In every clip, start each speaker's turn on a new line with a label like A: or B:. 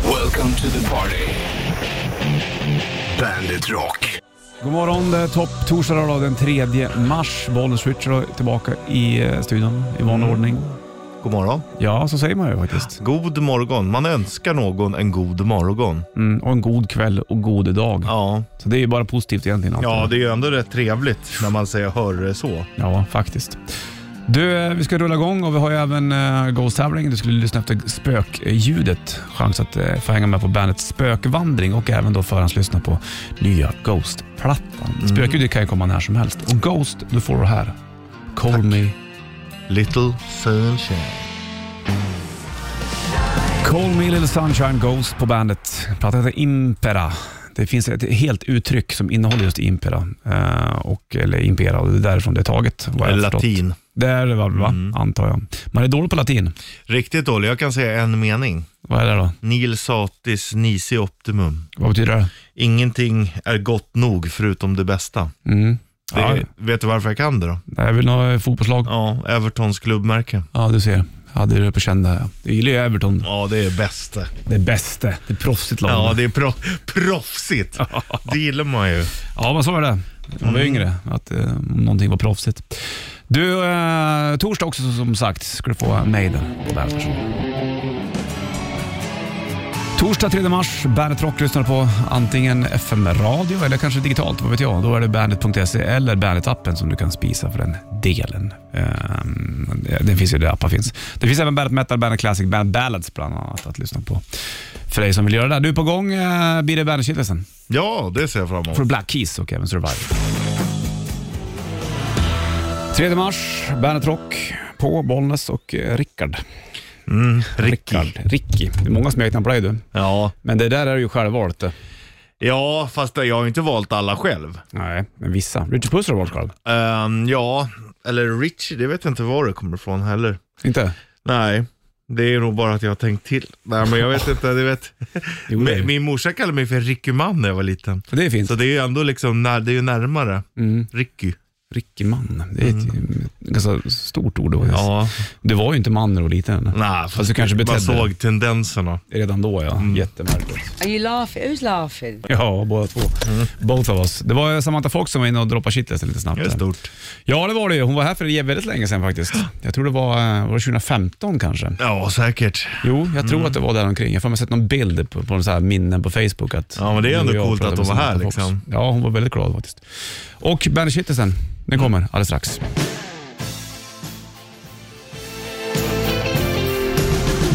A: Welcome to the party. Bandit Rock.
B: God morgon, det är topp torsdag då, den 3 mars. Bollnäs Richard är tillbaka i eh, studion i
C: Mm.
B: vanlig ordning.
C: God morgon.
B: Ja, så säger man ju faktiskt.
C: God morgon. Man önskar någon en god morgon.
B: Mm, och en god kväll och god dag.
C: Ja,
B: Så det är ju bara positivt egentligen. allt
C: ja
B: det...
C: det är ju ändå rätt trevligt när man säger hörre så.
B: där. ja, faktiskt. Du, eh, vi ska rulla igång och vi har ju även uh, Ghost-tävlingen. Du skulle lyssna efter spökljudet. Chans att eh, få hänga med på bandets spökvandring och även då förhandslyssna på nya Ghost-plattan.
C: Mm.
B: Spökljudet kan ju komma när som helst. Och Ghost, du får det här. Call me
C: Little sunshine.
B: Call Me Little Sunshine Ghost på bandet. Plattan heter Impera. Det finns ett helt uttryck som innehåller just Impera. Eh, och, eller Impera, och det är därifrån det är taget. vad jag har förstått.
C: Latin. Mm.
B: Det är det väl, va? Antar jag. Man är dålig på latin.
C: Riktigt dålig. Jag kan säga en mening.
B: Vad är det då?
C: Nil satis nisi optimum.
B: Vad betyder det?
C: Ingenting är gott nog förutom det bästa.
B: Mm.
C: Det,
B: Ja,
C: Vet du varför jag kan det då?
B: det är väl något fotbollslag. Ja.
C: Ja, Evertons klubbmärke.
B: du ser. Ja, det är det på känn där. ja. Jag gillar ju Everton.
C: Ja, det är bäst.
B: Det bästa. Det är proffsigt lag.
C: Ja, det är pro proffsigt. Det gillar man ju.
B: Ja, men så var det. När man var yngre, att eh, om någonting var proffsigt. Du, eh, torsdag också som sagt ska du få Maiden på Bandet. Torsdag 3 mars, Bandet Rock lyssnar på antingen FM-radio eller kanske digitalt, vad vet jag. Då är det bandet.se eller Bandet-appen som du kan spisa för den delen. Ehm, den finns ju där appar finns. Det finns även Bandet Metal, Bandet Classic, Bandet Ballads bland annat att lyssna på. För dig som vill göra det. Du är på gång, eh, blir det Bandet-kittelsen?
C: Ja, det ser jag fram emot.
B: från Black Keys och även Survivor. 3 mars, Bandet Rock på Bollnäs och eh, Rickard.
C: Mm, Ricky.
B: Rickard. Ricky. Det är många smeknamn på dig du.
C: Ja,
B: Men det där är ju självvalt det.
C: Ja, fast jag har ju inte valt alla själv.
B: Nej, men vissa. Richard Puss har du valt själv.
C: Ehm, ja, eller Richie, det vet jag inte var det kommer ifrån heller.
B: Inte?
C: Nej, det är nog bara att jag har tänkt till. Nej, men jag vet inte, du vet.
B: Jo, det,
C: Min-
B: är-
C: Min morsa kallade mig för Ricky Man när jag var liten.
B: det är fint.
C: Så det är ju ändå liksom, när, det är ju närmare.
B: Mm.
C: Ricky.
B: Ricky man. Det är ett mm, ett ganska stort ord. då.
C: Mm. Ja,
B: Du var ju inte man när du var liten.
C: nej,
B: Fast du kanske betedde dig.
C: man såg tendenserna.
B: Redan då ja.
C: Mm.
B: Jättemärkligt.
D: Are you laughing? Who's laughing?
B: Ja, båda två.
C: Mm.
B: Both of us. Det var Samantha Fox som var inne och droppade shitlisten lite snabbt.
C: Det är
B: där.
C: stort.
B: Ja, det var det ju. Hon var här för det är väldigt länge sedan faktiskt. Jag tror det var, eh, var det 2015 kanske.
C: Ja, säkert.
B: Jo, jag
C: Mm.
B: tror att det var där omkring. Jag har för mig sett någon bild på, på någon så här minnen på Facebook. Att
C: Ja, men det är
B: du och
C: ändå
B: jag
C: coolt
B: pratade
C: att
B: med
C: hon var här,
B: Samantha Fox.
C: liksom.
B: Ja, hon var väldigt glad faktiskt. Och Bandet Kittelsen, den kommer
C: Mm.
B: alldeles strax.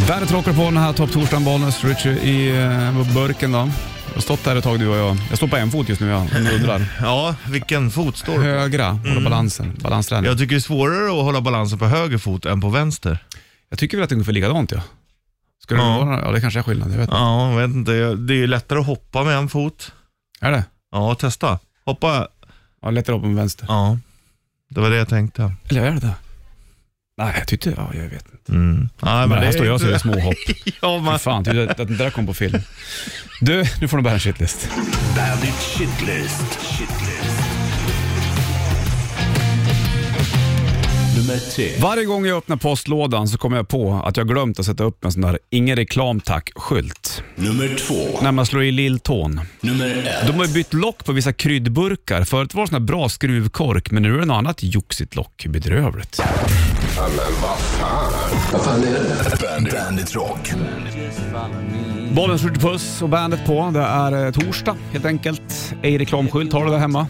B: Bandet rockar på den här topptorsdagen, Bollnäs, Richie i eh, burken då. Jag har stått här ett tag du och jag. Jag står på en fot just nu, jag om ni undrar.
C: Ja, vilken fot står du på?
B: Högra, hålla
C: Mm.
B: balansen, balansträning.
C: Jag tycker det är svårare att hålla balansen på höger fot än på vänster.
B: Jag tycker väl att det är ungefär likadant ja. Ska det
C: Ja.
B: vara? Ja, det kanske är skillnad. Jag vet. inte.
C: Ja, jag vet inte. jag- Det är ju lättare att hoppa med en fot.
B: Är det?
C: Ja, testa. Hoppa.
B: Ja, lättare upp än vänster.
C: Ja, det var det jag tänkte.
B: Eller är det det? Nej, jag tyckte... Ja, jag vet inte.
C: Mm. Nej,
B: Men här
C: det är
B: står jag och säger småhopp. Fy
C: ja, man...
B: fan, tyckte jag att den där kom på film. Du, nu får du bära en shitlist.
A: Bandit Shitlist. Shitlist. Nummer tre.
B: Varje gång jag öppnar postlådan så kommer jag på att jag glömt att sätta upp en sån där ingen reklam tack-skylt.
A: Nummer två.
B: När man slår i lilltån.
A: Nummer ett.
B: De har ju bytt lock på vissa kryddburkar. Förut var det sån här bra skruvkork, men nu är det något annat joxigt lock. Bedrövligt.
A: Bandit. Bandit Rock.
B: Bollen skjuter puss och bandet på. Det är eh, torsdag helt enkelt. Ej reklamskylt har du där hemma.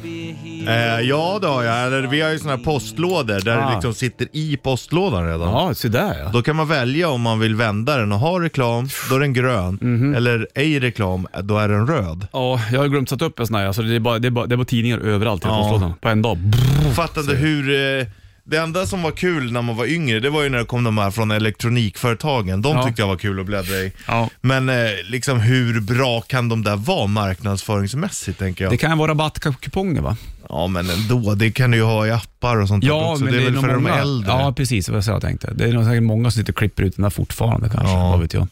C: eh, ja, det har jag. Eller, vi har ju såna här postlådor där
B: Ah.
C: det liksom sitter i postlådan redan.
B: Ja, se där ja.
C: Då kan man välja om man vill vända den och ha reklam, då är den grön.
B: Mhm.
C: Eller ej reklam, då är den röd.
B: Ja, jag har glömt sätta upp en sån här. Alltså, det, är bara, det, är bara, det är bara tidningar överallt i
C: Ja.
B: postlådan på en dag. Brr.
C: Fattade hur... Eh, det enda som var kul när man var yngre, det var ju när det kom de här från elektronikföretagen. De
B: Ja.
C: tyckte jag var kul att bläddra i.
B: Ja.
C: Men eh, liksom hur bra kan de där vara marknadsföringsmässigt, tänker jag.
B: Det kan ju vara rabattkuponger va?
C: Ja men ändå, det kan du ju ha i appar och sånt där också. det är väl
B: nog
C: för de
B: många-
C: äldre.
B: Ja, precis. Det var så jag tänkte. Det är nog säkert många som sitter och klipper ut den där fortfarande kanske.
C: Ja.
B: Vad vet jag.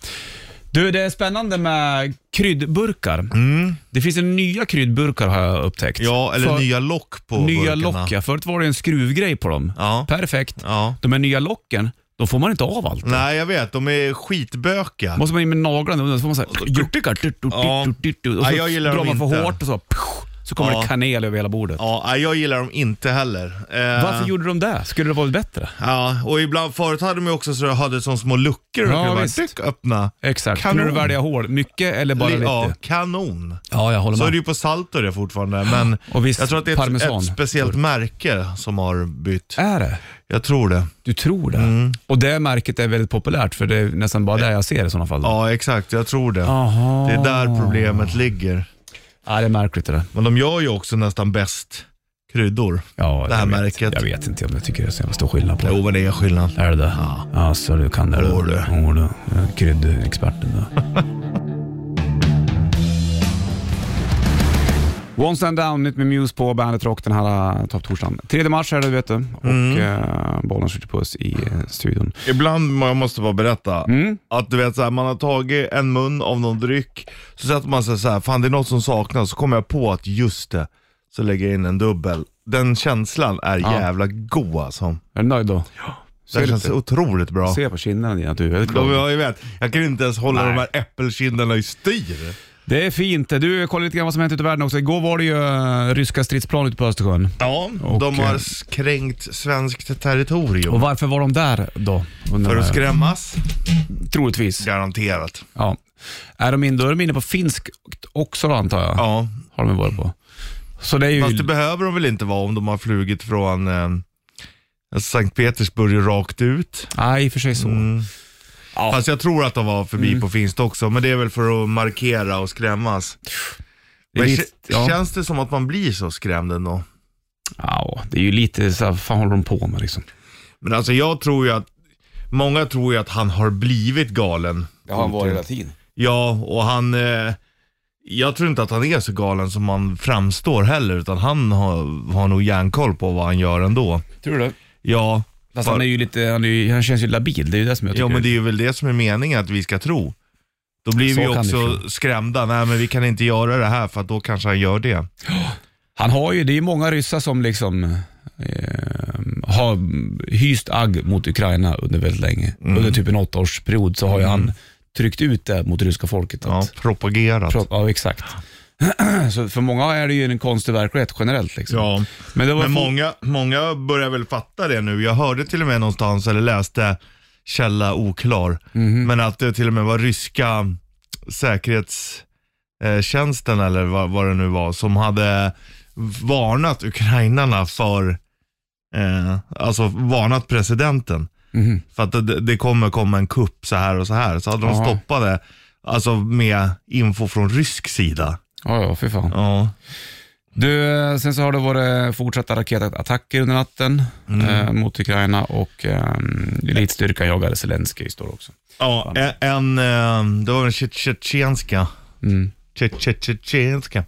B: Du, det är spännande med kryddburkar. Det finns en nya kryddburkar har jag upptäckt.
C: Mm. Ja, eller
B: För-
C: nya lock på
B: Nya
C: burkarna.
B: lock ja. Förut var det en skruvgrej på dem.
C: Ja.
B: Perfekt.
C: Ja.
B: De här nya locken, Då får man inte av allt.
C: Nej, jag vet. De är skitböka.
B: Måste man in med naglarna under så får man såhär...
C: Ja.
B: Och så
C: Ja, jag gillar
B: drar
C: dem
B: man för
C: inte.
B: hårt och så... Så kommer
C: Ja.
B: det kanel över hela bordet.
C: Ja, nej, jag gillar dem inte heller. Eh,
B: Varför gjorde de det? Skulle det varit bättre?
C: Ja, och ibland förut hade de ju också så hade som små luckor
B: Ja,
C: och kunde bara
B: visst.
C: tyck, Typ öppna.
B: Exakt.
C: Kanon.
B: Kunde du välja hål? Mycket eller bara
C: Li-
B: lite?
C: ja,
B: Ja,
C: kanon.
B: jag håller
C: Så är
B: med.
C: det ju på Salto det fortfarande, men
B: Och visst,
C: jag tror att det är ett,
B: parmesan.
C: ett speciellt märke som har bytt.
B: Är det?
C: Jag tror det.
B: Du tror det?
C: Mm.
B: Och det märket är väldigt populärt för det är nästan bara där jag ser i sådana fall. då.
C: Ja, exakt. Jag tror det.
B: Aha.
C: Det är där problemet ligger.
B: Ja, det är märkligt det där.
C: Men de gör ju också nästan bäst kryddor.
B: Ja,
C: Det här
B: jag vet.
C: märket.
B: Jag vet inte om jag tycker det är så jävla stor skillnad på det.
C: Jo, men det är skillnad.
B: Är det det? Ja. Alltså, du kan det
C: Jo, du.
B: Jo, du. Ja, Kryddexperten du. One Stand Down, nytt med Muse på Bandet Rock den här eh, topptorsdagen. 3 mars är det, vet du. Och
C: Mm.
B: eh, bollen skjuter puss i eh, studion.
C: Ibland, må- jag måste bara berätta,
B: Mm.
C: att du vet så här, man har tagit en mun av någon dryck, så sätter man sig så här, fan det är något som saknas, så kommer jag på att just det, så lägger jag in en dubbel. Den känslan är
B: Ja.
C: jävla god alltså.
B: Är du nöjd då? Ja.
C: Det
B: Ser,
C: känns
B: lite,
C: otroligt bra.
B: ser på kinderna dina att du är väldigt
C: De,
B: glad.
C: jag, vet, jag kan inte ens hålla
B: Nej.
C: de här äppelkinderna i styr.
B: Det är fint. Du, kolla lite grann vad som hänt ute i världen också. Igår var det ju eh, ryska stridsplan ute på Östersjön.
C: Ja,
B: Och,
C: de har
B: eh,
C: s- kränkt svenskt territorium.
B: Och varför var de där då? undrar
C: För att
B: jag.
C: skrämmas?
B: Troligtvis.
C: Garanterat.
B: Ja. Är de in, då är de inne på finsk också då, antar jag.
C: Ja,
B: Har de varit på. Så det är ju...
C: fast det behöver de väl inte vara om de har flugit från eh, Sankt Petersburg rakt ut.
B: Nej, i och för sig så.
C: Mm.
B: Ja. Mm.
C: Fast jag tror att de var förbi på finst också, men det är väl för att markera och skrämmas.
B: det, är
C: Men
B: lite,
C: kä-
B: ja.
C: Känns det som att man blir så skrämd ändå?
B: Ja, det är ju lite så här, vad fan håller de på med liksom?
C: Men alltså jag tror ju att, många tror ju att han har blivit galen.
B: Det har han varit hela tiden.
C: Ja, och han... Eh, jag tror inte att han är så galen som han framstår heller, utan han har, har nog järnkoll på vad han gör ändå.
B: Tror du
C: Ja,
B: Fast
C: för-
B: han är ju lite, han, är ju, han känns ju labil. Det är ju det som jag tycker.
C: ja men det är ju väl det som är meningen att vi ska tro. Då blir
B: Så
C: vi ju
B: kan det
C: också skrämda. Nej men vi kan inte göra det här för att då kanske han gör det.
B: Han har ju, det är ju många ryssar som liksom eh, har hyst agg mot Ukraina under väldigt länge.
C: Mm.
B: Under typ en åttaårsperiod så har ju han tryckt ut det mot det ryska folket.
C: Ja,
B: Att,
C: propagerat.
B: Pro- ja, exakt. så för många är det ju en konstig verklighet generellt. Liksom.
C: ja.
B: Men det var
C: Men
B: fort-
C: många, många börjar väl fatta det nu. Jag hörde till och med någonstans, eller läste, källa oklar, men att det till och med var ryska mm, säkerhetstjänsten eller vad, vad det nu var, som hade varnat ukrainarna för, eh, alltså varnat presidenten.
B: Mhm.
C: För att det, det kommer komma en kupp så här och så här. Så hade de
B: Aha.
C: stoppat det, alltså med info från rysk sida.
B: Ja, ja, fy fan.
C: Ja.
B: Du, eh, sen så har det varit fortsatta raketattacker under natten
C: Mm.
B: eh, mot Ukraina och eh, elitstyrkan jagade Zelenskyj står det också.
C: Ja, en, en, eh, det var en tje- tjetjenska.
B: Mm.
C: Tje- tje- Tjetjenska.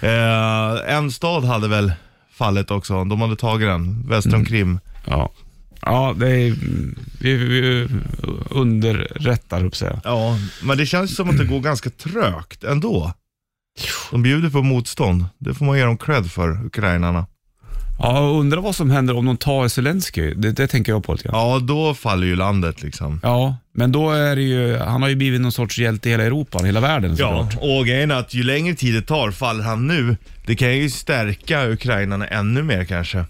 C: Eh, en stad hade väl fallit också. De hade tagit den, väster om Krim.
B: Ja. Ja, det är, vi, vi underrättar, upp säga.
C: Ja, men det känns som att det går ganska trögt ändå. De bjuder på motstånd. Det får man ge dem cred för, ukrainarna.
B: Ja, jag undrar vad som händer om de tar Zelenskyj. Det, det tänker jag på lite grann.
C: Ja, då faller ju landet liksom.
B: Ja, men då är det ju, han har ju blivit någon sorts hjälte i hela Europa, hela världen
C: Ja,
B: såklart.
C: och grejen är att ju längre tid det tar, faller han nu, det kan ju stärka ukrainarna ännu mer kanske.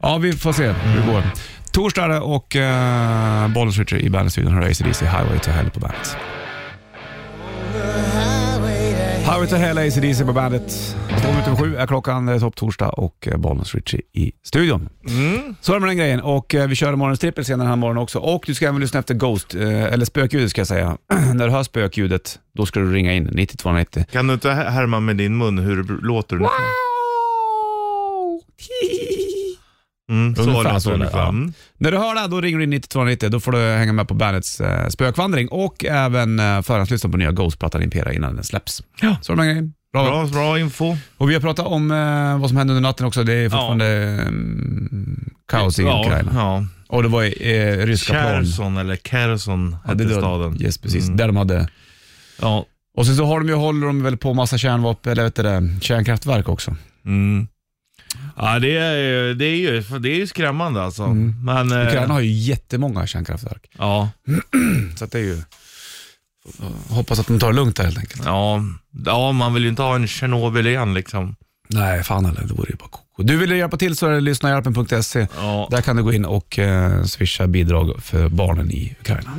B: Ja, vi får se hur det går. Torsdag är det och uh, bollen switcher i bandstudion. Här är ACDC, Highway to Hell på bandet. Highway to Hell, ACDC på bandet. Två minuter över sju är klockan, det är topp torsdag och eh, bollen switcher i studion. Så är det med den grejen och eh, vi kör morgonens trippel senare den här morgonen också. Och du ska även lyssna efter Ghost, eh, eller spökljudet ska jag säga. När du hör spökljudet, då ska du ringa in 9290.
C: Kan du inte här- härma med din mun hur det låter? nu? Mm, så
B: Ungefär
C: lät
B: så
C: det
B: lät det, ja.
C: ungefär. Mm.
B: När du hör det, här, då ringer du in 9290. Då får du hänga med på bandets eh, spökvandring och även eh, förhandslyssna på nya Ghost-plattan Impera innan den släpps. Ja. Så är det med grejen. Bra.
C: Bra, bra info.
B: Och vi har pratat om eh, vad som hände under natten också. Det är fortfarande mm, kaos i
C: ja,
B: Ukraina.
C: Ja.
B: Och det var eh, ryska plan.
C: Kherson eller Kherson
B: Ja,
C: hette
B: det var-
C: staden. Mm.
B: Yes, precis. Där de hade...
C: Ja.
B: Och
C: Eh.
B: sen så har de ju, håller de väl på massa kärnvapen, eller vet du det, kärnkraftverk också.
C: Mm. Ja, det är, ju- det är, ju, för det är ju skrämmande alltså. Men, eh,
B: Mm. Ukraina har ju jättemånga kärnkraftverk.
C: ja,
B: Så att det är ju... Hoppas att de tar det lugnt där helt enkelt.
C: ja, ja, man vill ju inte ha en Tjernobyl igen liksom.
B: Nej, fan heller. Det vore ju bara koko. Du vill hjälpa till så är det lyssnahjälpen.se.
C: Ja.
B: Där kan du gå in och eh, swisha bidrag för barnen i Ukraina.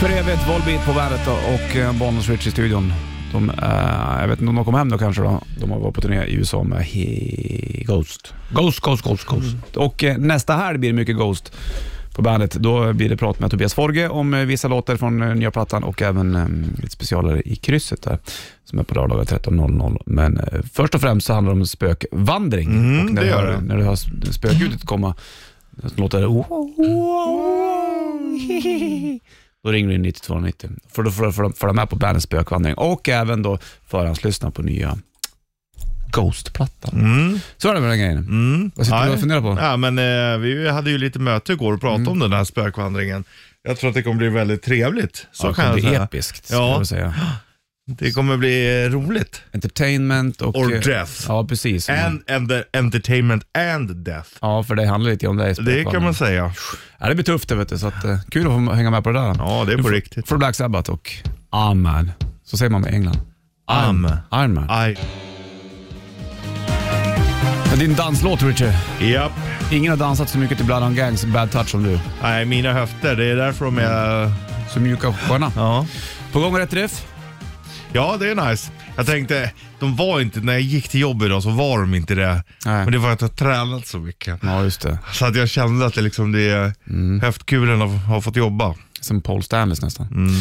B: För evigt, Volbeat på värdet då, och eh, Bonus Rich i studion. De, eh, jag vet inte om de kom hem då kanske. Då. De har varit på turné i USA med he- Ghost. Ghost, Ghost, Ghost, Ghost. Och eh, nästa helg blir det mycket Ghost på bandet. Då blir det prat med Tobias Forge om eh, vissa låtar från eh, nya plattan och även eh, lite specialare i krysset där, som är på lördagar 13.00. Men eh, först och främst så handlar det om spökvandring.
C: Mm,
B: och när
C: det
B: du
C: gör
B: hör,
C: det.
B: När du hör s- spökljudet komma, så låter det... Då ringer du in 9290 för då får du följa- följa med på bandets spökvandring och även då förhandslyssna på nya Ghost-plattan.
C: Mm,
B: Så är det med den grejen.
C: mm.
B: Vad sitter du
C: Nej.
B: och funderar på?
C: Ja, men eh, vi hade ju lite möte igår och pratade
B: Mm.
C: om den här spökvandringen. Jag tror att det kommer bli väldigt trevligt. Så
B: det
C: kan
B: kommer
C: jag
B: bli
C: säga.
B: episkt, skulle
C: Ja.
B: jag säga.
C: Det kommer bli eh, roligt.
B: Entertainment och...
C: Or
B: eh,
C: death.
B: Ja, precis. Mm.
C: And, and the entertainment and death.
B: Ja, för det handlar lite om dig.
C: Det kan man säga.
B: ja, det blir tufft det, vet du, så att, eh, kul att få hänga med på det där.
C: Ja, det är på riktigt.
B: Från Black Sabbath och Amen. Så säger man med England.
C: Am.
B: Iron Man.
C: Aj.
B: Men Din danslåt, Richard.
C: Japp.
B: Ingen har dansat så mycket till Blood on Gangs Bad Touch som du.
C: Nej, mina höfter. Det är därför de är...
B: Så mjuka och sköna.
C: Ja.
B: På gång rätt riff.
C: Ja, det är nice. Jag tänkte, de var inte, när jag gick till jobbet idag så var de inte det.
B: Nej.
C: Men det var att jag har tränat så mycket.
B: Ja, just det.
C: Så att jag kände att det liksom det,
B: Mm.
C: höftkulorna har, har fått jobba.
B: Som Paul Stanleys nästan.
C: Mm.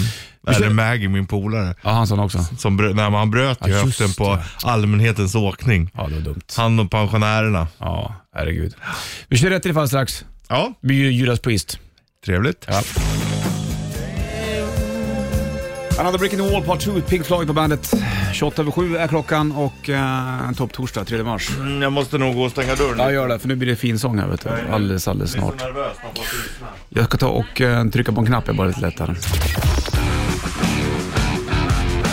C: Eller Maggie, min polare,
B: Ja, han sa den också.
C: som brö, när man bröt ju
B: Ja, just
C: höften på allmänhetens åkning.
B: Ja, det var dumt.
C: Han och pensionärerna.
B: Ja, herregud. Vi kör rätt riff alldeles strax.
C: Ja,
B: Det blir ju Judas Priest.
C: trevligt.
B: Ja. Another Brick in the Wall Part 2, Pink Floyd på bandet. 28 över 7 är klockan och eh, en topptorsdag 3 mars.
C: Mm, Jag måste nog gå och stänga dörren.
B: Ja, gör det, för nu blir det finsång här vet du. Alldeles, alldeles
C: Jag är
B: snart.
C: så nervös när man får lyssna.
B: Jag ska ta och eh, trycka på en knapp, jag bara lite lättare.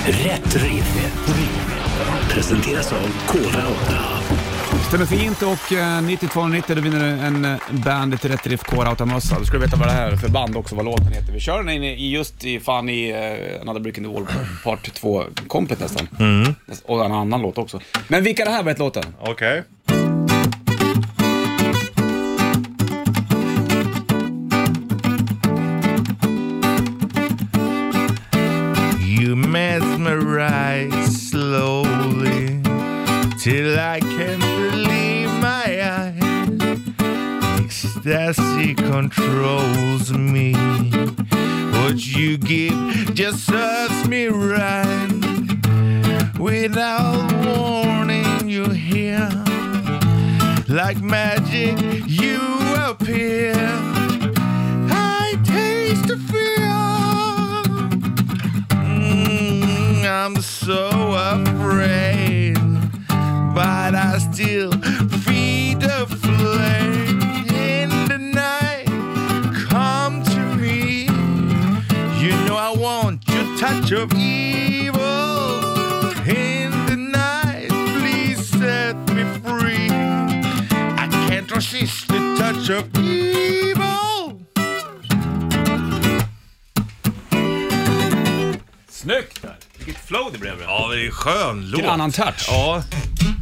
A: Rätt riff. Rätt riff. Presenteras av Kora 8.
B: Stämmer fint och eh, 9290, då vinner du en eh, Bandit Rätt Riff Core-automössa. Du ska veta vad det här är för band också, vad låten heter. Vi kör den in i just i, fan i eh, Another Brick in the Wall Part 2, kompet nästan.
C: Mm.
B: Och en annan låt också. Men vilka det här var ett låten?
C: Okej. You mesmerize slowly till I can't believe my eyes. Ecstasy controls me. What you give just serves me right. Without warning, you're here. Like magic, you appear. I taste the fear. Mm, I'm so afraid, but I still feed the flame. In the night, come to me. You know I want your touch of evil in the night. Please set me free. I can't resist the touch of evil.
B: Snyggt!
C: Vilket flow det blev. Ja, det är en skön låt.
B: En annan touch.
C: Ja,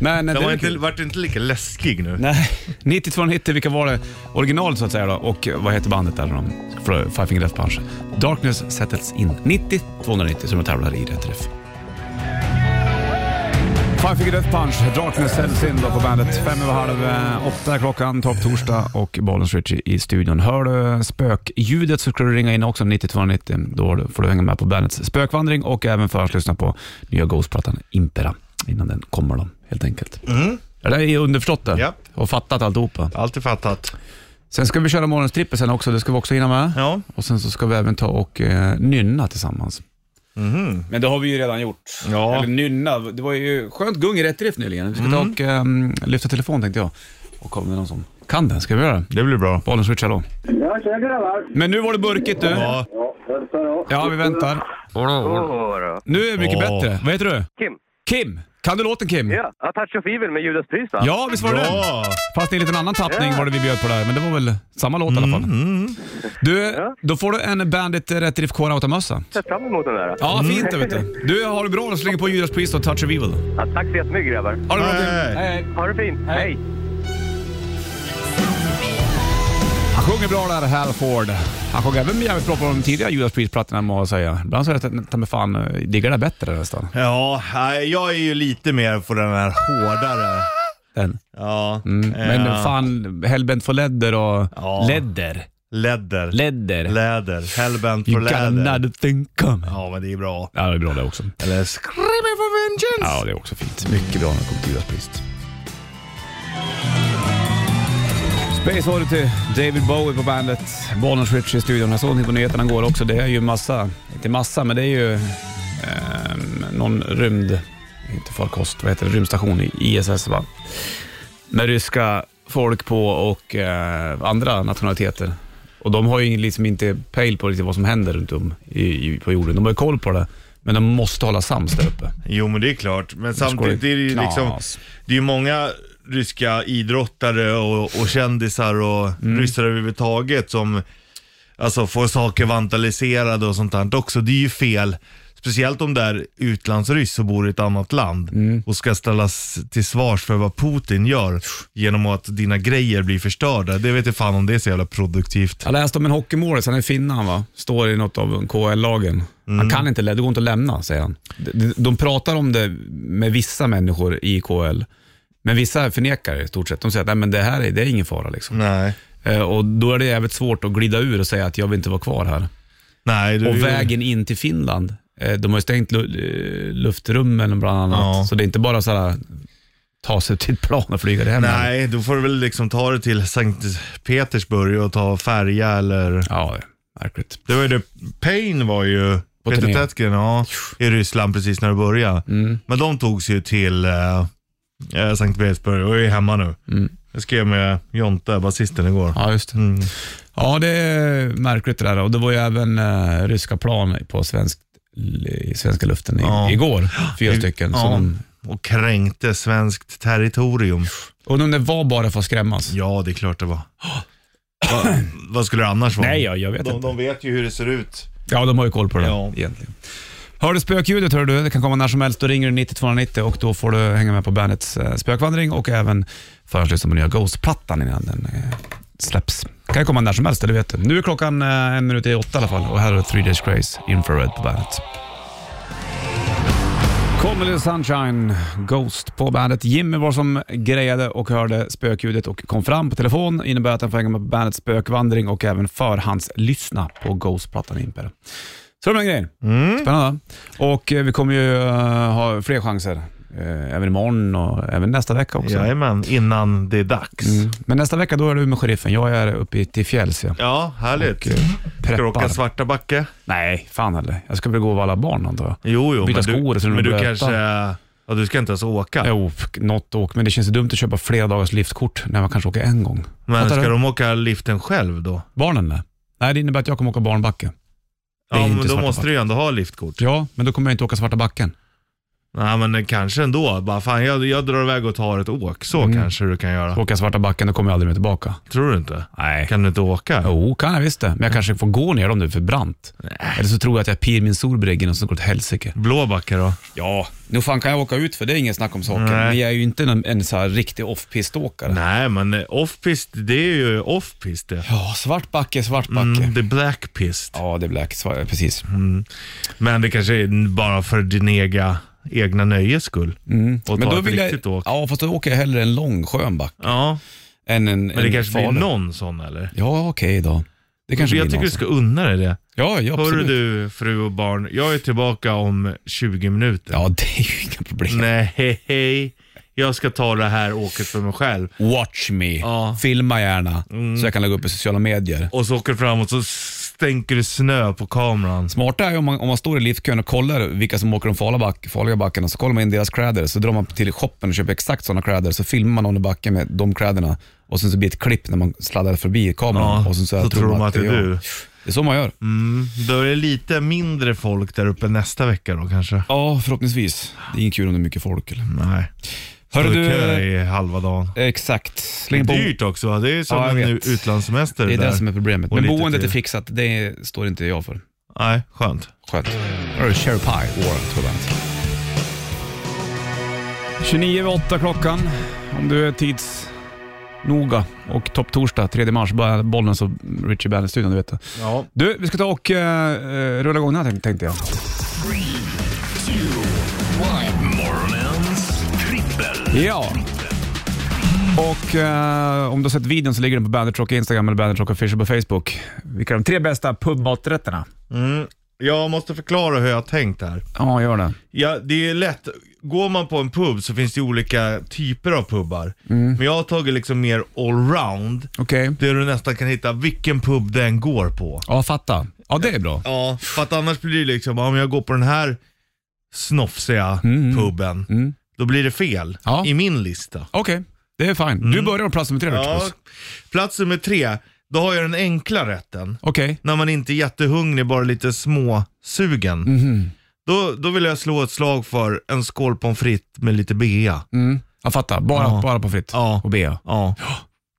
B: Men eh, det
C: den var
B: är
C: inte,
B: kul.
C: vart inte lika läskig nu.
B: Nej, 9290, vilka var det original så att säga då? Och eh, vad heter bandet där de för Five Finger Death Punch? Darkness Settles In 90 290 som de tävlar i rätt träff. Five Finger Death Punch, Darkness Settles In då på bandet. Fem över halv eh, åtta är klockan, topp torsdag och Bollens Richie i studion. Hör du spökljudet så ska du ringa in också 9290. Då får du hänga med på bandets spökvandring och även förhandslyssna på nya Ghost-plattan Impera innan den kommer då, helt enkelt. Ja, det är underförstått det.
C: Ja.
B: Och fattat alltihopa.
C: Alltid fattat.
B: Sen ska vi köra morgonens trippel sen också, det ska vi också hinna med.
C: Ja.
B: Och sen så ska vi även ta och eh, nynna tillsammans. Men det har vi ju redan gjort.
C: Ja.
B: Eller nynna, det var ju skönt gung i rätt riff nyligen. Vi ska ta och ehm, lyfta telefon tänkte jag. Och kolla om det är någon som kan den. Ska vi göra det?
C: Det blir bra.
B: Bollen switch, hallå.
E: Ja, tja grabbar!
B: Men nu var det burkigt du. Ja,
C: Ja.
E: Hälsa då.
B: vi väntar.
F: Åh, då.
B: Nu är det mycket
C: Ja.
B: bättre. Vad heter du?
F: Kim.
B: Kim! Kan du låten Kim?
E: Ja, Attach of Evil med Judas Priest va?
B: Ja, visst var det den?
C: Bra!
B: Fast i en liten annan tappning var det vi bjöd på där, men det var väl samma låt i alla fall. Du, då får du en Bandit eh, Rätt Riff K-Rauta-mössa.
E: Jag ser fram emot den där.
B: Ja, fint det vet du. Du, har det bra och slänger på Judas Priest och Touch of Evil.
E: Ja, tack så jättemycket grabbar.
B: Ha det bra Kim.
C: Nej.
B: Hej.
E: Ha det fint. Hej.
B: Han sjunger bra där, Halford. Han sjöng även jävligt bra på de tidiga Judas Priest-plattorna må jag säga. Ibland så är det ta mig fan, eh, diggar det bättre nästan.
C: Ja, nej, jag är ju lite mer på den här hårdare.
B: Den.
C: Ja.
B: Mm. Men
C: eh,
B: fan, Hellbent for Ledder och...
C: Ja.
B: Ledder.
C: Läder.
B: Ledder.
C: Läder. Hellbent for
B: You got
C: läder.
B: another thing coming.
C: Ja, men det är bra.
B: Ja, det är bra det också.
C: Eller Screaming for vengeance.
B: Ja, det är också fint. Mycket bra när det kommer till Judas Priest. Space Oddity, David Bowie på bandet, Bonus Rich i studion. Jag såg någonting på nyheterna igår också. Det är ju massa, inte massa, men det är ju ehm, någon rymd, inte farkost, vad heter det, rymdstation i ISS va? Med ryska folk på och eh, andra nationaliteter. Och de har ju liksom inte pejl på riktigt vad som händer runt om i, i, på jorden. De har ju koll på det, men de måste hålla sams där uppe.
C: Jo, men det är klart. Men samtidigt
B: det
C: är det ju liksom,
B: knas.
C: det är ju många ryska idrottare och, och kändisar och ryssar överhuvudtaget som alltså, får saker vandaliserade och sånt där också. Det är ju fel. Speciellt om det är utlandsryss som bor i ett annat land och ska ställas till svars för vad Putin gör genom att dina grejer blir förstörda. Det vet jag fan om det är så jävla produktivt.
B: Jag läste om en hockeymålis, han är finne han va, står i något av KL-lagen. Han kan inte, lä- det går inte att lämna säger han. De, de pratar om det med vissa människor i KL, men vissa förnekar det i stort sett. De säger att nej, men det här är, det är ingen fara liksom.
C: Nej.
B: Eh, Och då är det jävligt svårt att glida ur och säga att jag vill inte vara kvar här.
C: Nej, du,
B: Och vägen in till Finland, eh, de har ju stängt lu- eh, luftrummen bland annat,
C: Ja.
B: så det är inte bara sådär ta sig till ett plan och flyga det hem.
C: Nej, då får du väl liksom ta det till Sankt Petersburg och ta färja eller
B: Ja, märkligt.
C: Det var ju det, Pain var ju,
B: På
C: Peter
B: turné. Mm.
C: Tätgren, ja, i Ryssland precis när det började. Men de togs ju till eh, eh, Sankt Petersburg och är hemma nu. Jag skrev med Jonte, basisten, igår.
B: Mm. Ja, just det.
C: Mm.
B: Ja, det är märkligt det där. Och det var ju även eh, ryska plan på svensk, i svenska luften i,
C: Ja.
B: igår. Fyra
C: I-
B: stycken.
C: ja.
B: Så de,
C: Och kränkte svenskt territorium.
B: och de det var bara för att skrämmas.
C: Ja, det är klart det var. Va, vad skulle det annars vara?
B: Nej, jag, jag vet
C: de,
B: inte.
C: de vet ju hur det ser ut.
B: Ja, de har ju koll på det
C: Ja.
B: egentligen. Hör du spökljudet, hör du, det kan komma när som helst. Då ringer du 9290 och då får du hänga med på bandets eh, spökvandring och även förhandslyssna på nya Ghost-plattan innan den eh, släpps. kan ju komma när som helst, det vet du. Nu är klockan eh, en minut i åtta i alla fall och här är Three Days Grace, Infrared på bandet. Kommer Little Sunshine, Ghost på bandet. Jimmy var som grejade och hörde spökljudet och kom fram på telefon. innebär att han får hänga med på bandets spökvandring och även förhandslyssna på Ghost-plattan i Imperium. Så det var den grejen. Spännande. Och eh, vi kommer ju eh, ha fler chanser. eh, även imorgon och även nästa vecka också.
C: Jajamän, innan det är dags.
B: Mm. Men nästa vecka då är du med sheriffen. Jag är uppe i till fjälls. Ja.
C: Ja,
B: Och,
C: härligt.
B: eh,
C: Ska du åka
B: preppar.
C: svarta backe?
B: Nej, fan heller. Jag ska väl gå och alla barn antar jag.
C: Jo, jo.
B: Byta
C: men
B: skor så
C: du,
B: de
C: men
B: blir
C: du
B: blöta.
C: kanske... Ja, du ska inte ens åka.
B: Jo, f- något åk. Men det känns ju dumt att köpa flera dagars liftkort när man kanske åker en gång.
C: Men
B: Fattar
C: ska
B: du?
C: de åka liften själv då?
B: Barnen nej. Nej, det innebär att jag kommer åka barnbacke. Det är
C: Ja,
B: inte
C: men då
B: svarta
C: måste
B: backen.
C: du ju ändå ha liftkort.
B: Ja, men då kommer jag inte åka svarta backen.
C: Nej, men kanske ändå. Bara, fan, jag, jag drar iväg och tar ett åk. Så
B: Mm.
C: kanske du kan göra.
B: Åka svarta backen, då kommer jag aldrig mer tillbaka.
C: Tror du inte?
B: Nej.
C: Kan du inte åka?
B: Jo, kan jag visst det. Men jag kanske får gå ner om det är för brant. Eller så tror jag att jag pir min solbräggen och så går det åt helsike.
C: Blå backe då?
B: Ja, nu fan kan jag åka ut för det är ingen snack om saken.
C: Nej.
B: Men jag är ju inte en, en så här riktig off-pist-åkare.
C: Nej, men eh, offpist, det är ju offpist det.
B: Ja, svart backe, svart backe.
C: Mm, det är blackpist.
B: Ja, det är black, svart, precis.
C: Men det kanske är bara för din ega, egna nöjes skull.
B: Mm.
C: Och ta ett riktigt
B: jag,
C: åk.
B: Ja, fast då åker jag hellre en lång skön backe
C: Ja,
B: än en
C: men det
B: en
C: kanske blir
B: farlig.
C: någon sån eller?
B: Ja, okej då. Det kanske
C: jag
B: blir
C: tycker
B: någon
C: du ska unna dig det.
B: sån. Ja, ja,
C: Hör
B: absolut.
C: du fru och barn, jag är tillbaka om 20 minuter.
B: Ja, det är ju inga problem.
C: Nej, hej, hej. Jag ska ta det här åket för mig själv.
B: Watch me.
C: Ja. Mm.
B: Filma gärna så jag kan lägga upp i sociala medier.
C: Och så åker du fram och så stänker du snö på kameran.
B: Smarta är ju om man, om man står i liftkön och kollar vilka som åker de farliga, back, farliga backarna, så kollar man in deras kläder, så drar man till shoppen och köper exakt sådana kläder, så filmar man någon i backen med de kläderna och sen så blir det ett klipp när man sladdar förbi kameran
C: Ja,
B: och sen så, här
C: så tror de att det är
B: jag.
C: du. Mm.
B: Det är så man gör.
C: Då är det lite mindre folk där uppe nästa vecka då kanske.
B: Ja, förhoppningsvis. Det är inget kul om det är mycket folk. Eller?
C: Nej.
B: Hörru
C: Står i kö
B: du,
C: i halva dagen.
B: exakt.
C: Det är
B: Släng på.
C: dyrt också. va? Det är som
B: Ja, jag
C: en
B: vet.
C: utlandssemester
B: Det är
C: där.
B: det som är problemet.
C: Och
B: Men
C: lite
B: boendet
C: till.
B: är fixat, det står inte jag för.
C: Nej, skönt.
B: Skönt. Då är det Cherry Pie, Warrant på bandet. 29 över 8 klockan, om du är tidsnoga. Och topptorsdag, 3 mars, bara bollen så Richie Bandet-studion, du vet det.
C: Ja.
B: Du, vi ska ta och eh, rulla igång den här tänk- tänkte jag.
A: Morgonens trippel.
B: Ja. Och eh, om du har sett videon så ligger den på Bandit Rock Instagram eller Bandit Rock Official på Facebook. Vilka är de tre bästa pubmaträtterna?
C: Jag måste förklara hur jag har tänkt här.
B: Ja, gör det.
C: Ja, det är lätt. Går man på en pub så finns det olika typer av pubbar. Men jag har tagit liksom mer allround.
B: Okej.
C: Där du nästan kan hitta vilken pub den går på.
B: Ja, fatta. Ja, det är bra.
C: Ja, för att annars blir det liksom, om jag går på den här snofsiga puben, då blir det fel
B: Ja.
C: i min lista.
B: Okej, det är fine. Du börjar på plats nummer tre då,
C: Ja.
B: Charles.
C: Plats nummer tre, då har jag den enkla rätten.
B: Okej.
C: När man inte är jättehungrig, bara lite småsugen. Då, då vill jag slå ett slag för en skål pommes frites med lite bea.
B: Jag fattar. Bara,
C: Ja.
B: bara på fritt.
C: Ja.
B: Och bea.
C: Ja.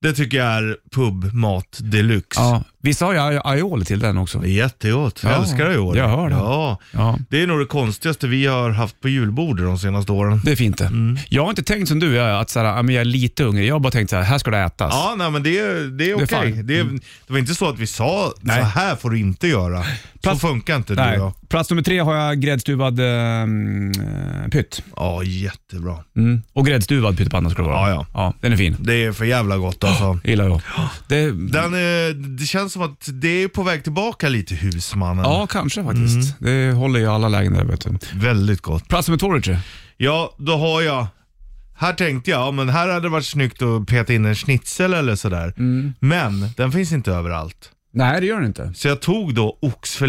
C: Det tycker jag är pubmat deluxe.
B: Ja. Vissa har ju ai- aioli till den också.
C: Det är Jättegott, jag
B: Ja,
C: älskar det i år.
B: jag hör det.
C: Ja.
B: Ja.
C: Det är nog det konstigaste vi har haft på julbordet de senaste åren.
B: Det är fint det. Jag har inte tänkt som du, jag, att så här, ja, men jag är lite hungrig. Jag har bara tänkt så här, här ska det ätas.
C: Ja, nej men det, är- det är okej.
B: fine. Mm.
C: Det, är- det var inte så att vi sa
B: Nej.
C: så här får du inte göra.
B: Plats-
C: Så funkar inte
B: Nej.
C: du och jag.
B: Plats nummer tre har jag gräddstuvad ehm, eh, pytt.
C: Ja, jättebra.
B: Mm. Och gräddstuvad pyttipanna ska det vara.
C: Ja, ja.
B: den är fin.
C: Det är för jävla gott alltså.
B: gillar jag. Det,
C: Den, eh, det känns som att det är på väg tillbaka lite husmannen.
B: ja, kanske faktiskt.
C: Mm.
B: Det håller ju alla lägen där. Vet du.
C: Väldigt gott.
B: Plats nummer två, Richie.
C: Ja, då har jag. Här tänkte jag, ja, men här hade det varit snyggt att peta in en schnitzel eller sådär.
B: Mm.
C: Men den finns inte överallt.
B: Nej, det gör den inte.
C: Så jag tog då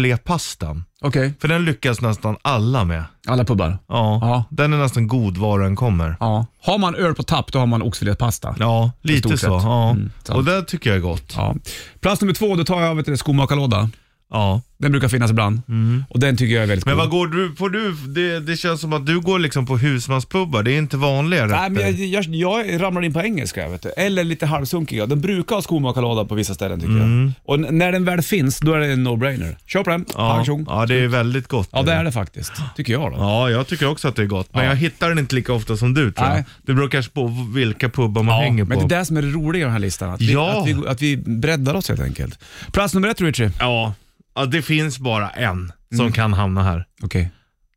C: oxfilépastan.
B: Okej,
C: För den lyckas nästan alla med.
B: alla pubbar.
C: Ja,
B: Ja.
C: den är nästan god var den kommer.
B: Ja. Har man öl på tapp, då har man oxfilépasta.
C: Ja, lite
B: stort
C: så.
B: sett.
C: Ja.
B: Mm, sant.
C: och det tycker jag är gott.
B: Ja. Plats nummer två, då tar jag vet du, skomakarlåda.
C: Ja.
B: Den brukar finnas ibland. Och den tycker jag är väldigt
C: Mm. Men
B: god.
C: vad går du på du? Det, det känns som att du går liksom på husmanspubbar. Det är inte vanliga
B: Nej, men jag,
C: rätter.
B: jag, jag ramlar in på engelska, vet du. eller lite halvsunkiga. Den brukar ha skomakarlåda på vissa ställen tycker
C: Mm.
B: jag. Och n- när den väl finns, då är det en no-brainer. Kör på den,
C: Ja,
B: pang tjong.
C: ja, det är väldigt gott.
B: Ja, det är det faktiskt, tycker jag. Då.
C: Ja, jag tycker också att det är gott. Men
B: Ja.
C: jag hittar den inte lika ofta som du tror jag.
B: Nej.
C: Det beror kanske på vilka pubbar man hänger på.
B: men det är det som är det roliga i den här listan. Att vi,
C: Ja.
B: att vi, att vi breddar oss helt enkelt. Plats nummer ett, Richie.
C: Ja. ja, det finns bara en som
B: Mm.
C: kan hamna här.
B: Okej.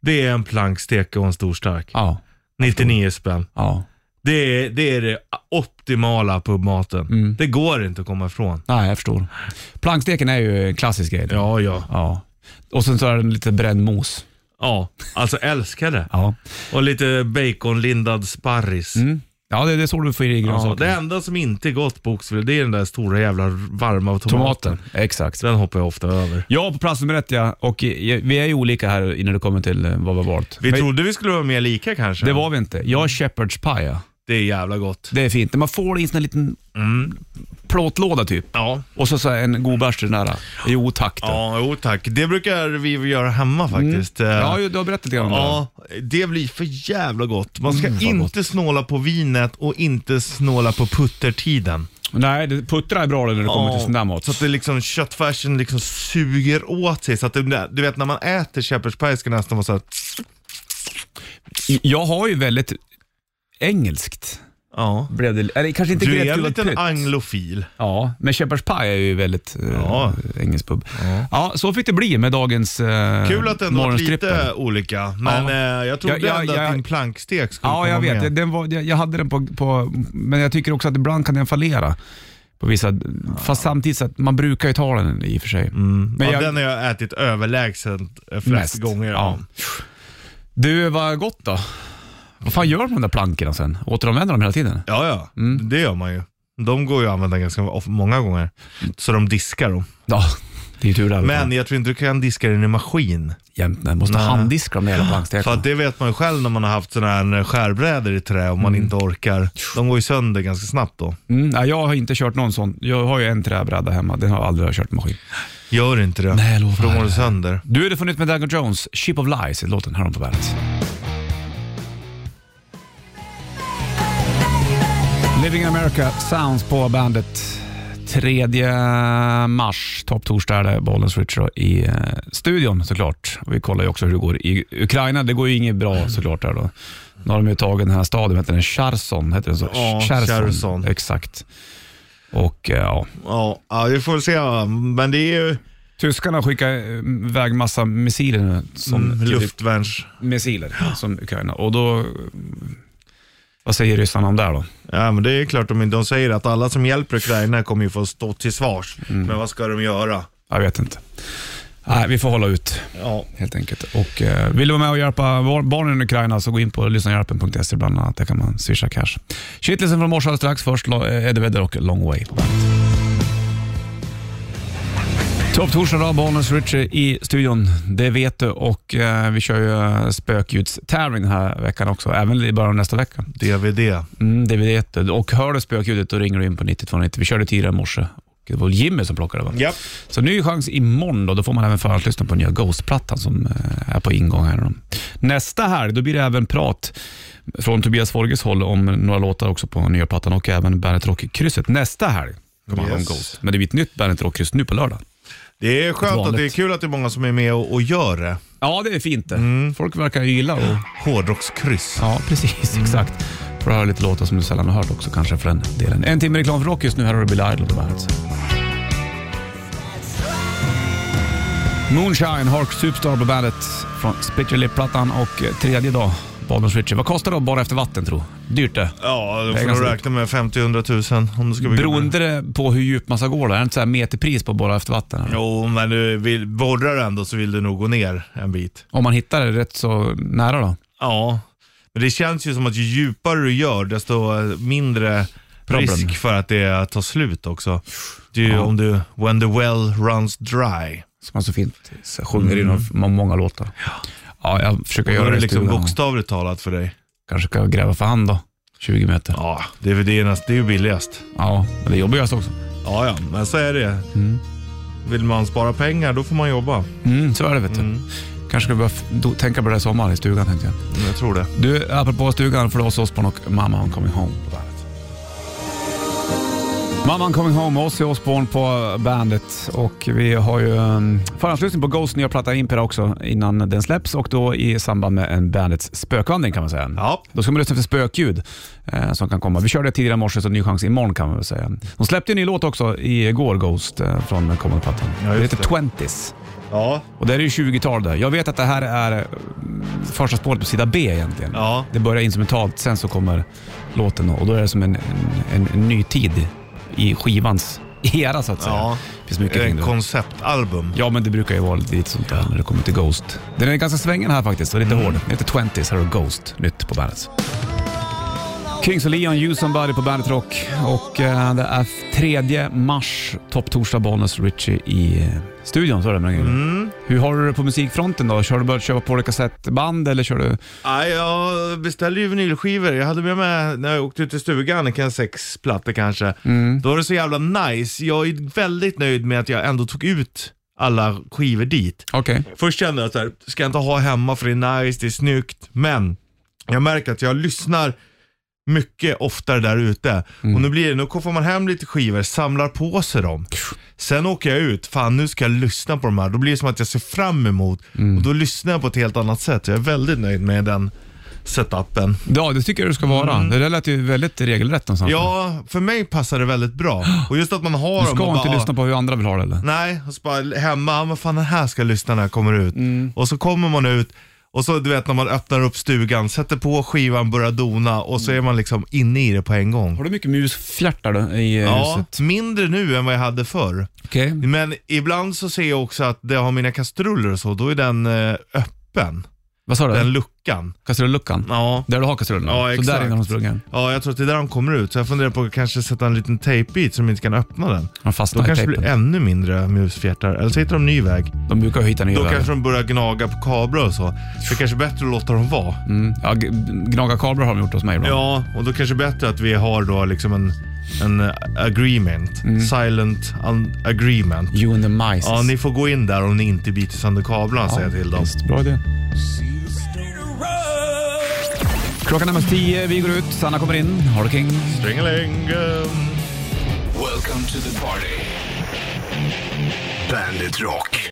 C: Det är en plankstek och en stor stark.
B: Ja.
C: 99 spänn.
B: Ja.
C: Det är, det är det optimala pubmaten.
B: Mm.
C: Det går inte att komma ifrån.
B: Nej, jag förstår. Planksteken är ju en klassisk grej.
C: Ja, ja.
B: Ja. Och sen så är den lite bränd mos.
C: Ja, alltså älskar det.
B: Ja.
C: Och lite baconlindad sparris.
B: Mm. Ja, det, det är så du får i dig
C: Ja,
B: grönsaker.
C: det enda som inte är gott på oxfilé, det är den där stora jävla varma tomaten.
B: Tomaten. Exakt.
C: Den hoppar jag ofta över.
B: Ja, på plats nummer ett ja. Och eh, vi är ju olika här innan det kommer till eh, vad vi har valt.
C: Vi
B: Men
C: trodde vi skulle vara mer lika kanske.
B: Det var vi inte. Jag har shepherd's pie. ja.
C: Det är jävla gott.
B: Det är fint. Man får det i en sån här liten
C: Mm.
B: plåtlåda typ.
C: Ja.
B: Och så, så här en god bärs till den här. Jo tack du.
C: Ja, jo tack. Det brukar vi göra hemma faktiskt. Eh,
B: Mm. Ja, ju- du har berättat lite grann om
C: ja, det blir för jävla gott. Man ska
B: Mm, vad
C: inte snåla på vinet och inte snåla på puttertiden.
B: det. Nej, det- puttra är bra när det kommer till sån där mat.
C: Så att det liksom, köttfärsen liksom suger åt sig. Så att det, du vet när man äter shepherd's pie ska det nästan vara så här,
B: Jag har ju väldigt engelskt.
C: ja.
B: Blev det, eller kanske inte
C: Du är en
B: grädde,
C: liten
B: pytt.
C: anglofil.
B: Ja, men shepherd's pie är ju väldigt eh,
C: Ja.
B: engelsk pub. Ja. så fick det bli med dagens eh,
C: Kul att det ändå varit
B: morgonstrippen.
C: lite olika, men eh, jag trodde
B: Ja, ja,
C: ändå
B: ja.
C: att din plankstek skulle
B: Ja,
C: komma
B: jag vet.
C: med.
B: Den var, jag, jag hade den på, på, men jag tycker också att ibland kan den fallera. På vissa, Fast samtidigt så att man brukar ju ta den i och för sig. Men
C: Mm. ja,
B: jag-
C: den har jag ätit överlägset eh, flest
B: Mest.
C: gånger.
B: Ja. Du, vad gott då. Vad fan gör man med de där plankorna sen? Återanvänder de hela tiden?
C: Ja, ja. Det gör man ju. De går ju att använda ganska of- många gånger. Så de diskar dem.
B: Ja, det är ju tur det.
C: Men jag tror inte du kan diska den i maskin.
B: Jämt, nej. Måste
C: Nej.
B: handdiska de där jävla
C: För
B: plankstekarna.
C: att det vet man ju själv när man har haft sådana här skärbrädor i trä och man inte orkar. De går ju sönder ganska snabbt då.
B: Mm, nej, jag har inte kört någon sån. Jag har ju en träbräda hemma. Den har jag aldrig kört maskin.
C: Gör inte det.
B: Nej, jag lovar.
C: För då går det sönder.
B: Du är det funnit med Dagon Jones, Ship of Lies, i låten här om på bandet. Living in America Sounds på bandet. 3 mars, topptorsdag, är det, Bollens Richard i eh, studion såklart. Och vi kollar ju också hur det går i Ukraina. Det går ju inget bra såklart där då. Nu har de ju tagit den här staden, heter den Cherson? Heter den så?
C: Ja, Cherson.
B: Exakt. Och eh, ja,
C: Ja, ja, vi får se. va. Men det är ju
B: tyskarna skickar eh, iväg massa missiler nu. Som
C: mm, luftvärns...
B: missiler som Ukraina. Och då, vad säger ryssarna om det här då?
C: Ja, men det är klart de, de säger att alla som hjälper Ukraina kommer ju få stå till svars. Men vad ska de göra?
B: Jag vet inte. Nej, vi får hålla ut
C: Ja,
B: helt enkelt. Och, eh, vill du vara med och hjälpa var- barnen i Ukraina så gå in på lyssnarhjälpen.se bland annat. Där kan man swisha cash. Shitlisten från morse alldeles strax. Först Lo- eh, Eddie Vedder och Long Way på bandet. Topp torsdag dag, Bonus Richie i studion. Det vet du och eh, vi kör ju eh, spökljudstävling den här veckan också, även i början av nästa vecka.
C: DVD.
B: Mm, det vet du. Och hör du spökljudet då ringer du in på 9290. Vi körde tidigare i morse. Och Det var Jimmy som plockade det, va?
C: Japp.
B: Så ny chans imorgon då. Då får man även förhandslyssna på nya Ghost-plattan som eh, är på ingång här. nu. Nästa här, då blir det även prat från Tobias Forges håll om några låtar också på nya plattan och även Bandet Rock-krysset. Nästa här kommer handla om
C: Yes.
B: Ghost. Men det blir ett nytt Bandet Rock-kryss nu på lördag.
C: Det är skönt att det är
B: Vanligt.
C: kul att det är många som är med och, och gör det.
B: Ja, det är fint det. Folk verkar ju gilla och
C: Hårdrockskryss.
B: Ja, precis.
C: Mm.
B: Exakt. Får höra lite låtar som du sällan har hört också kanske för den delen. En timme reklam för rock just nu. Här har du Bill Idol alltså. på bandet. Moonshine, Hark Superstar på bandet från Split Your Lip-plattan och eh, tredje dag, Badens Ritchie. Vad kostar det att borra efter vatten tro? Dyrt det.
C: Ja,
B: Det
C: då
B: är
C: får du
B: ganska
C: räkna med 50-100 000 om du ska bygga
B: Beroende det på hur djupt man ska gå då? Är det inte så här meterpris på att borra efter vatten? eller?
C: Jo, men du vill, borrar du ändå så vill du nog gå ner en bit.
B: Om man hittar det rätt så nära då?
C: Ja, men det känns ju som att ju djupare du gör desto eh, mindre
B: Problem.
C: risk för att det tar slut också. Det är ju
B: Ja.
C: om du, when the well runs dry.
B: Som man så fint sjunger i någon, många låtar. Ja, jag försöker
C: Mm. Då
B: göra
C: är
B: det
C: det
B: i
C: liksom
B: stugan.
C: bokstavligt talat för dig.
B: Kanske ska gräva för hand då. 20 meter. Ja,
C: Ja, det är, väl det, näst- det är ju billigast.
B: men det jobbar jag också.
C: Ja, ja, men så är det. Vill man spara pengar, då får man jobba.
B: Mm, så är det vet du. Kanske ska vi börja f- do- tänka på det här i sommar i stugan tänkte jag.
C: Jag tror det.
B: Du, apropå stugan, för oss Osbourne och Mamma I'm coming home på bandet. Mamma I'm coming home, Ozzy Osbourne på eh, bandet. Och vi har ju um, förhandslyssning på Ghosts nya platta Impera också innan den släpps och då i samband med en bandets spökvandring kan man säga.
C: Ja.
B: Då ska man lyssna för spökljud eh, som kan komma. Vi körde det tidigare i morse, så ny chans imorgon kan man väl säga. De släppte en ny låt också igår, Ghost, eh, från den kommande plattan.
C: Ja,
B: det
C: just
B: heter
C: det.
B: 20s.
C: Ja,
B: Och det är ju 20-tal där. Jag vet att det här är eh, första spåret på sida B egentligen.
C: Ja.
B: Det börjar instrumentalt, sen så kommer låten och då är det som en, en, en ny tid i skivans era så att säga.
C: Ja.
B: Det finns mycket kring
C: en
B: det.
C: Eh, konceptalbum.
B: Ja, men det brukar ju vara lite, lite sånt där när det kommer till Ghost. Den är ganska svängande här faktiskt och lite
C: Mm.
B: hård. Den heter 20s, här har du Ghost, nytt på bandet. Kings och Leon, You Somebody på Bandet Rock. Och eh, det är 3 mars, topptorsdag, Bonus Richie i eh, studion. Så är det med den grejen.
C: Mm.
B: Hur har du det på musikfronten då? Kör du börjat köpa på olika kassettband eller kör du...
C: Nej, jag beställde ju vinylskivor. Jag hade med mig, när jag åkte ut till stugan, kan sex plattor kanske. Då var det så jävla nice. Jag är väldigt nöjd med att jag ändå tog ut alla skivor dit.
B: Okej.
C: Först kände jag såhär, ska jag inte ha hemma för det är nice, det är snyggt. Men jag märker att jag lyssnar mycket oftare där ute. Och
B: Mm.
C: nu blir det, nu får man hem lite skivor, samlar på sig dem. Sen åker jag ut, fan nu ska jag lyssna på de här. Då blir det som att jag ser fram emot
B: Mm.
C: och då lyssnar jag på ett helt annat sätt. Jag är väldigt nöjd med den setupen.
B: Ja, det tycker jag du ska vara. Det där lät ju väldigt regelrätt någonstans.
C: Mm. Ja, för mig passar det väldigt bra. Och just att man har Mm.
B: Du
C: dem och
B: ska inte
C: bara,
B: lyssna på hur andra vill ha det eller?
C: Nej, och så bara hemma, ja, men fan den här ska jag lyssna när jag kommer ut.
B: Mm.
C: Och så kommer man ut och så du vet när man öppnar upp stugan, sätter på skivan, börjar dona och så är man liksom inne i det på en gång.
B: Mm. Har du mycket musfjärtar då i eh,
C: Ja,
B: huset?
C: mindre nu än vad jag hade förr.
B: Okej.
C: Men ibland så ser jag också att det har mina kastruller och så, då är den eh, öppen,
B: Vad sa
C: den
B: du?
C: luckan.
B: Kastrulluckan?
C: Ja.
B: Där du har kastrullen?
C: Ja,
B: Så där
C: exakt.
B: inne har de sprungit?
C: ja, jag tror att det är där de kommer ut. Så jag funderar på att kanske sätta en liten tejpbit så de inte kan öppna den.
B: De
C: Då
B: fastnar i
C: kanske det
B: tejpen.
C: blir ännu mindre musfjärtar. Eller så hittar de ny väg.
B: De brukar ju hitta nya
C: Då
B: vägar.
C: kanske de börjar gnaga på kablar och så. Så det kanske är bättre att låta dem vara.
B: Mm. Ja, g- gnaga kablar har de gjort hos mig ibland.
C: Ja, och då kanske det är bättre att vi har då liksom en en eh, agreement. Silent un- agreement.
B: You and the Mice.
C: Ja, ni får gå in där om ni inte biter sönder kablarna säger jag till dem.
B: Visst, bra idé. Klockan är närmast tio, vi går ut, Sanna kommer in, Harlequin.
C: Stringeling.
A: Welcome to the party. Bandit Rock.